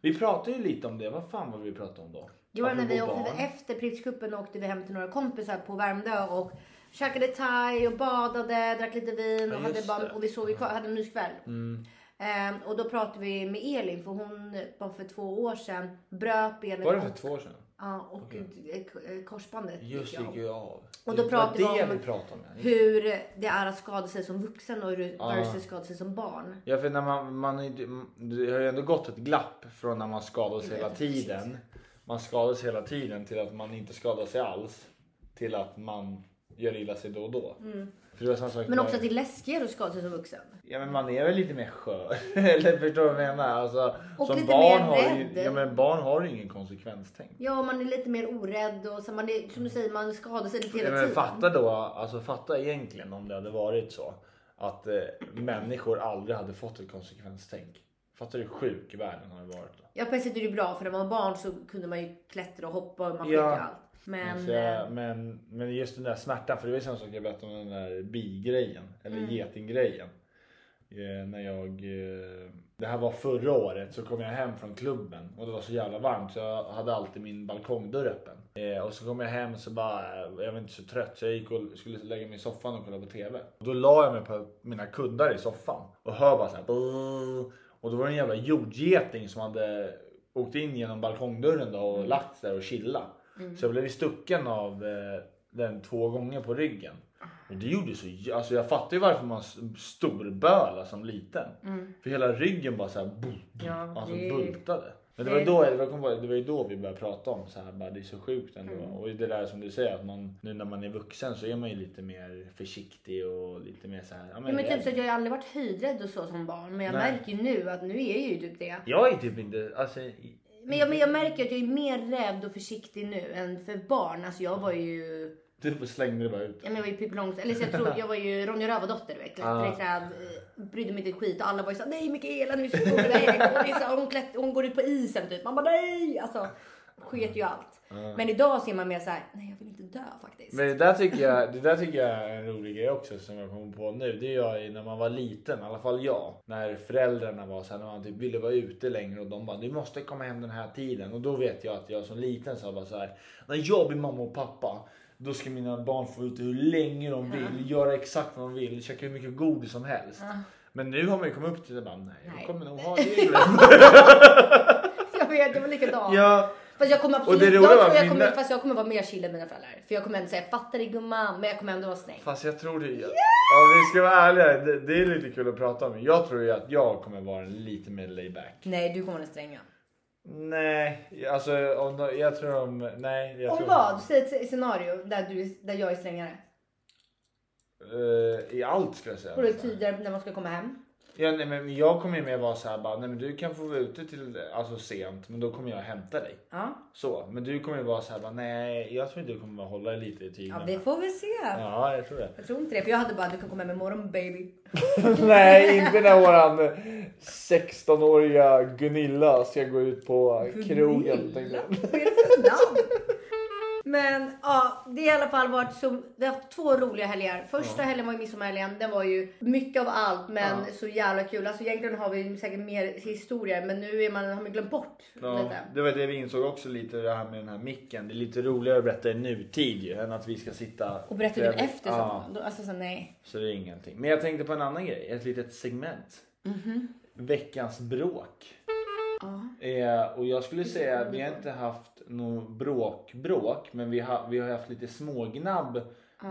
Vi pratade ju lite om det, vad fan var vi pratade om då?
Mm. Det var när vi
Apropå
åkte
barn.
efter Prippscupen åkte vi hem till några kompisar på Värmdö och käkade thai och badade, drack lite vin och,
Ja,
hade
just
bara,
det. Mm.
och vi sov ju kvar, hade en myskväll. Ehm, och då pratade vi med Elin för hon var för två år sedan bröt benet
Var det för
och-
två år sedan?
Ja, och eh, korsbandet
Just
gick av.
det, gick ju av.
Och
Det
då
var
pratade
det Ah.
vi
vi
om
pratade om. ja.
hur det är att skada sig som vuxen och hur- versus skada sig som barn.
Ja, för när man, man, är ju- det har ju ändå gått ett glapp från när man skadas hela tiden. Man skadas hela tiden till att man inte skadar sig alls. Till att man gör illa sig då och då. För det var samma sak
Mm. Men
när-
också att det är läskigare att skada sig som vuxen.
Ja men man är väl lite mer skör. Eller förstår du vad jag menar? Alltså,
Och
som
lite
barn
mer
har ju,
rädd.
ja, men barn har ju ingen konsekvenstänk.
Ja, man är lite mer orädd och så man är, som du säger, man skadar sig lite hela
Mm. Ja, men
tiden.
fatta då, alltså fatta egentligen om det hade varit så att eh, människor aldrig hade fått ett konsekvenstänk. Fattar du hur sjuk världen har varit då?
Ja på ett sätt är det ju bra för när man var barn så kunde man ju klättra och hoppa och man fick
Ja.
ju allt. Men
så Alltså, jag,
eh,
men, men just den där smärtan, för det var ju samma sak jag berättade om den där bigrejen, eller
Mm.
getinggrejen. Eh, när jag, eh, det här var förra året, så kom jag hem från klubben och det var så jävla varmt så jag hade alltid min balkongdörr öppen. Eh, och så kom jag hem så bara, eh, jag var inte så trött så jag gick och skulle lägga mig i soffan och kolla på TV. Och då la jag mig på mina kuddar i soffan och hör bara så här. "Brrr." Och då var det en jävla jordgeting som hade åkt in genom balkongdörren då och lagt sig där och chillat. Så jag blev stucken av eh, den två gånger på ryggen. Och det gjorde så, jä- alltså jag fattar ju varför man s- storbölar som liten. För hela ryggen bara så här, boom, boom,
Mm. Ja,
alltså
det-
bultade. Men det var, ju då, jag- jag kom på, det var ju då vi började prata om så här, bara, det är så sjukt ändå.
Mm.
Och det där som du säger att man, nu när man är vuxen så är man ju lite mer försiktig och lite mer så här. Ja,
ja, men typ
rädd.
så att jag har aldrig varit höjdrädd och så som barn men jag
Nej.
märker ju nu att nu är jag ju typ det.
Jag är typ inte, alltså. i-
Men jag, men jag märker att jag är mer rädd och försiktig nu än för barn. Alltså jag var ju
Du slängde det bara ut.
Ja, men jag var ju Pippi Långstrump. Eller så jag tror, jag var ju Ronja Rövardotter du vet. Klättrade i träd. eh, Brydde mig inte ett skit. Och alla var ju såhär, nej Mikaela nu ska vi gå med dig. Och det är så här, hon, klätt, hon går ut på isen typ. Man bara nej! Alltså, sket ju allt. Men idag ser man mer såhär, nej jag vill inte dö faktiskt.
Men det där, tycker jag, det där tycker jag är en rolig grej också som jag kommer på nu. Det gör jag när man var liten, i alla fall jag. När föräldrarna var så här, när man typ ville vara ute längre och de bara du måste komma hem den här tiden. Och då vet jag att jag som liten sa bara så här, när jag blir mamma och pappa då ska mina barn få ut hur länge de vill, göra exakt vad de vill, käka hur mycket godis som helst. Men nu har man ju kommit upp till det bara, nej jag
Nej.
kommer nog ha regler.
Jag vet, jag var likadan.
ja.
Fast jag kommer absolut,
det roliga
jag
var
tror jag
mina-
kommer, fast jag kommer vara mer chill än mina föräldrar. För jag kommer ändå säga, fattar dig gumman. Men jag kommer ändå vara snäll.
Fast jag tror det. Yeah! Om vi ska vara ärliga, det, det är lite kul att prata om. Jag tror ju att jag kommer vara lite mer layback.
Nej, du kommer vara den stränga.
Nej, alltså om de, jag tror om... Nej, jag
Om
tror...
vad? Säg ett sc- scenario där, du, där jag är strängare.
Eh, I allt skulle jag säga.
Och det är tydligare när man ska komma hem.
Ja, nej, men jag kommer ju mer vara så här bara, nej men du kan få vara ute till alltså, sent men då kommer jag hämta dig.
Ja.
Så, men du kommer ju vara så här bara, nej jag tror inte du kommer bara hålla dig lite i tiden.
Ja, det får vi se.
ja, jag tror det.
Jag tror inte det, för jag hade bara du kan komma hem imorgon baby.
nej, inte när våran 16-åriga Gunilla ska gå ut på krogen. tänkte jag.
Vad är det för namn? Men ja, det har i alla fall varit så, vi har haft två roliga helger. Första helgen var ju midsommarhelgen, den var ju mycket av allt men så jävla kul. Alltså egentligen har vi säkert mer historier men nu är man, har man glömt bort
Ja,
lite.
det var det vi insåg också lite det här med den här micken. Det är lite roligare att berätta i nutid ju, än att vi ska sitta...
Och berättar den efter
ja,
så, då, alltså så nej.
så det är ingenting. Men jag tänkte på en annan grej, ett litet segment. Veckans bråk. Eh, och jag skulle säga att vi har inte haft någon bråk-bråk men vi har, vi har haft lite smågnabb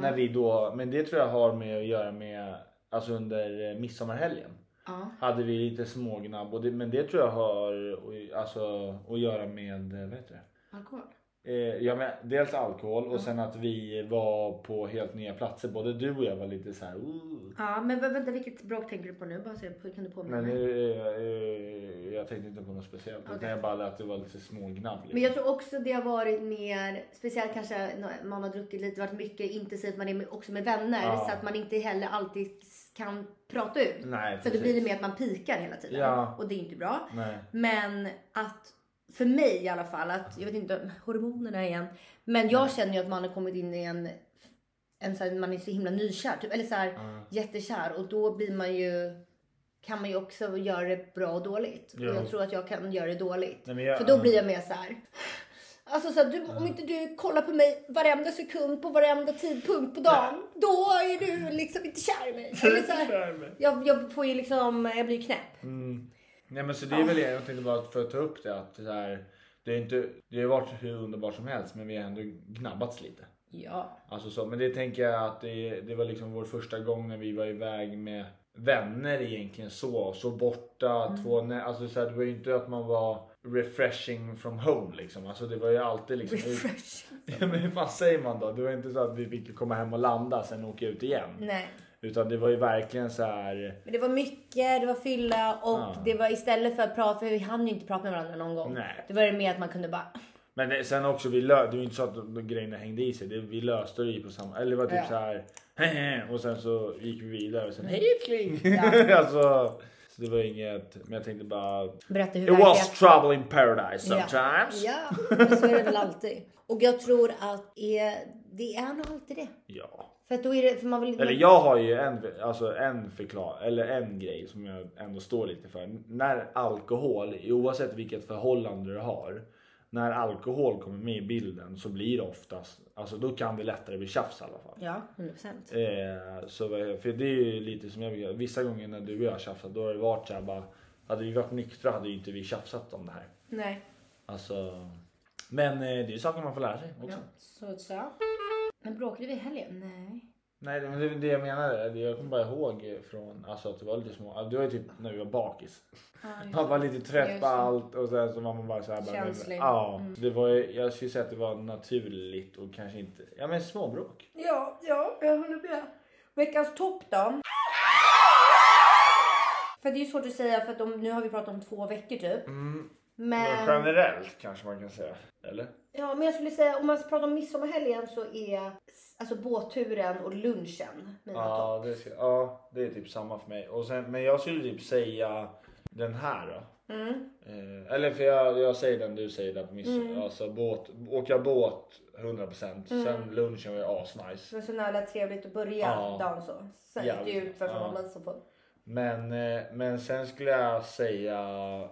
när vi då, men det tror jag har med att göra med, alltså under eh, midsommarhelgen.
Ja.
Hade vi lite smågnabb och det, men det tror jag har och- alltså, att göra med, eh, vad heter det?
Alkohol.
Eh, ja, men dels alkohol och sen att vi var på helt nya platser. Både du och jag var lite så här. "Ooh."
Ja men vä- vänta vilket bråk tänker du på nu? Bara så jag- kan du påminna
Men
mig?
nu, eh, eh, jag tänkte inte på något speciellt. Utan
Mm. Okej.
jag bara att det var lite smågnabb. Liksom.
Men jag tror också det har varit mer, speciellt kanske när man har druckit lite, varit mycket intensivt, man är med- också med vänner
Ja.
så att man inte heller alltid kan prata ut.
Nej,
så det
precis.
blir det mer att man pikar hela tiden
Ja.
och det är inte bra.
Nej.
Men att, för mig i alla fall, att jag vet inte, hormonerna igen, men jag känner ju att man har kommit in i en, en så här, man är så himla nykär, typ, eller så här, jättekär och då blir man ju kan man ju också göra det bra och dåligt.
Ja.
Och jag tror att jag kan göra det dåligt.
Nej, men jag-
För då blir jag mer så här. Alltså så här, du, om inte du kollar på mig varenda sekund på varenda tidpunkt på dagen. Då är du liksom inte kär i mig. Eller så här, jag, jag får ju liksom, jag blir ju knäpp.
Mm. Nej men så det är väl jag tänkte bara för att ta upp det att så här, det är inte, det har varit hur underbart som helst men vi har ändå gnabbats lite.
Ja.
Alltså så, men det tänker jag att det, det var liksom vår första gång när vi var iväg med vänner egentligen så. Så borta, två nä- alltså så här, det var ju inte att man var refreshing from home liksom. Alltså det var ju alltid liksom.
Refreshing.
Ja, men hur fan säger man då? Det var inte så att vi fick komma hem och landa sen åka ut igen.
Nej.
Utan det var ju verkligen så här.
Men det var mycket, det var fylla och det var istället för att prata, för vi hann ju inte prata med varandra någon gång.
Nej.
Det var det mer att man kunde bara
Men det, sen också, vi lö- det var ju inte så att de- de grejerna hängde i sig. Det, vi löste det ju på samma... Eller det var typ
Ja.
så här. "Hehe", Och sen så gick vi vidare och sen hej älskling! alltså, så det var inget. Men jag tänkte bara
berätta hur
It was
verkligheten-
trouble in paradise sometimes. Ja.
Ja, men så är det väl alltid. Och jag tror att eh, det är nog alltid det. För att då är det, för man vill
Eller jag har ju en, alltså en förklar, eller en grej som jag ändå står lite för. När alkohol, oavsett vilket förhållande du har, när alkohol kommer med i bilden så blir det oftast, alltså då kan det lättare bli tjafs i alla fall.
Ja, 100 procent.
Eh, så, vad- för det är ju lite som jag brukar- Vissa gånger när du och jag har tjafsat då har det varit såhär bara, hade vi varit nyktra hade ju inte vi tjafsat om det här.
Nej.
Alltså, men eh, det är ju saker man får lära sig också.
Så, så. Alltså. Men bråkade vi i helgen? Nej.
Nej, det- men det är det jag menade. Det- Jag kommer bara ihåg från alltså, att det var lite små. Det var ju typ när vi var bakis. Man var lite trött
Just
på
det.
allt och sen så var man bara så här. bara-
Känslig. Mm.
Ja, det var ju, jag skulle säga att det var naturligt och kanske inte. Ja, men småbråk.
Ja, ja, jag håller med. Veckans topp då?
Mm.
För det är ju svårt att säga för att om, nu har vi pratat om två veckor typ.
Men
Men,
generellt kanske man kan säga. Eller?
ja, men jag skulle säga om man pratar om midsommarhelgen så är s- alltså båtturen och lunchen mina
Ja
topp.
det, ska, ja, det är typ samma för mig. Och sen, men jag skulle typ säga den här då.
Mm.
Eh, eller för jag, jag säger den du säger där på midsommar. Alltså båt, åka båt 100%. Sen lunchen var ju asnice.
Men så nära trevligt att börja
Ja.
dagen så. Sen gick det
Jävligt.
ut varför
Ja.
man man så på.
Men, eh, men sen skulle jag säga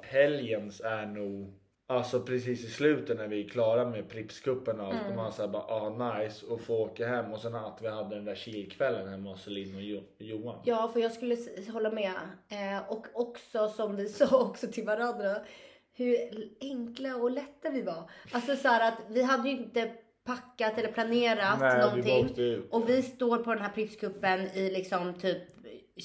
helgens är nog Alltså precis i slutet när vi är klara med Pripscupen och allt. Och man säger bara ah nice och få åka hem. Och sen att vi hade den där kilkvällen hemma hos Celine och jo- Johan.
Ja, för jag skulle s- hålla med. Eh, och också som vi sa också till varandra, hur enkla och lätta vi var. Alltså så här att vi hade ju inte packat eller planerat
Nej, vi bara
någonting.
åkte ut.
och vi står på den här Pripskuppen i liksom typ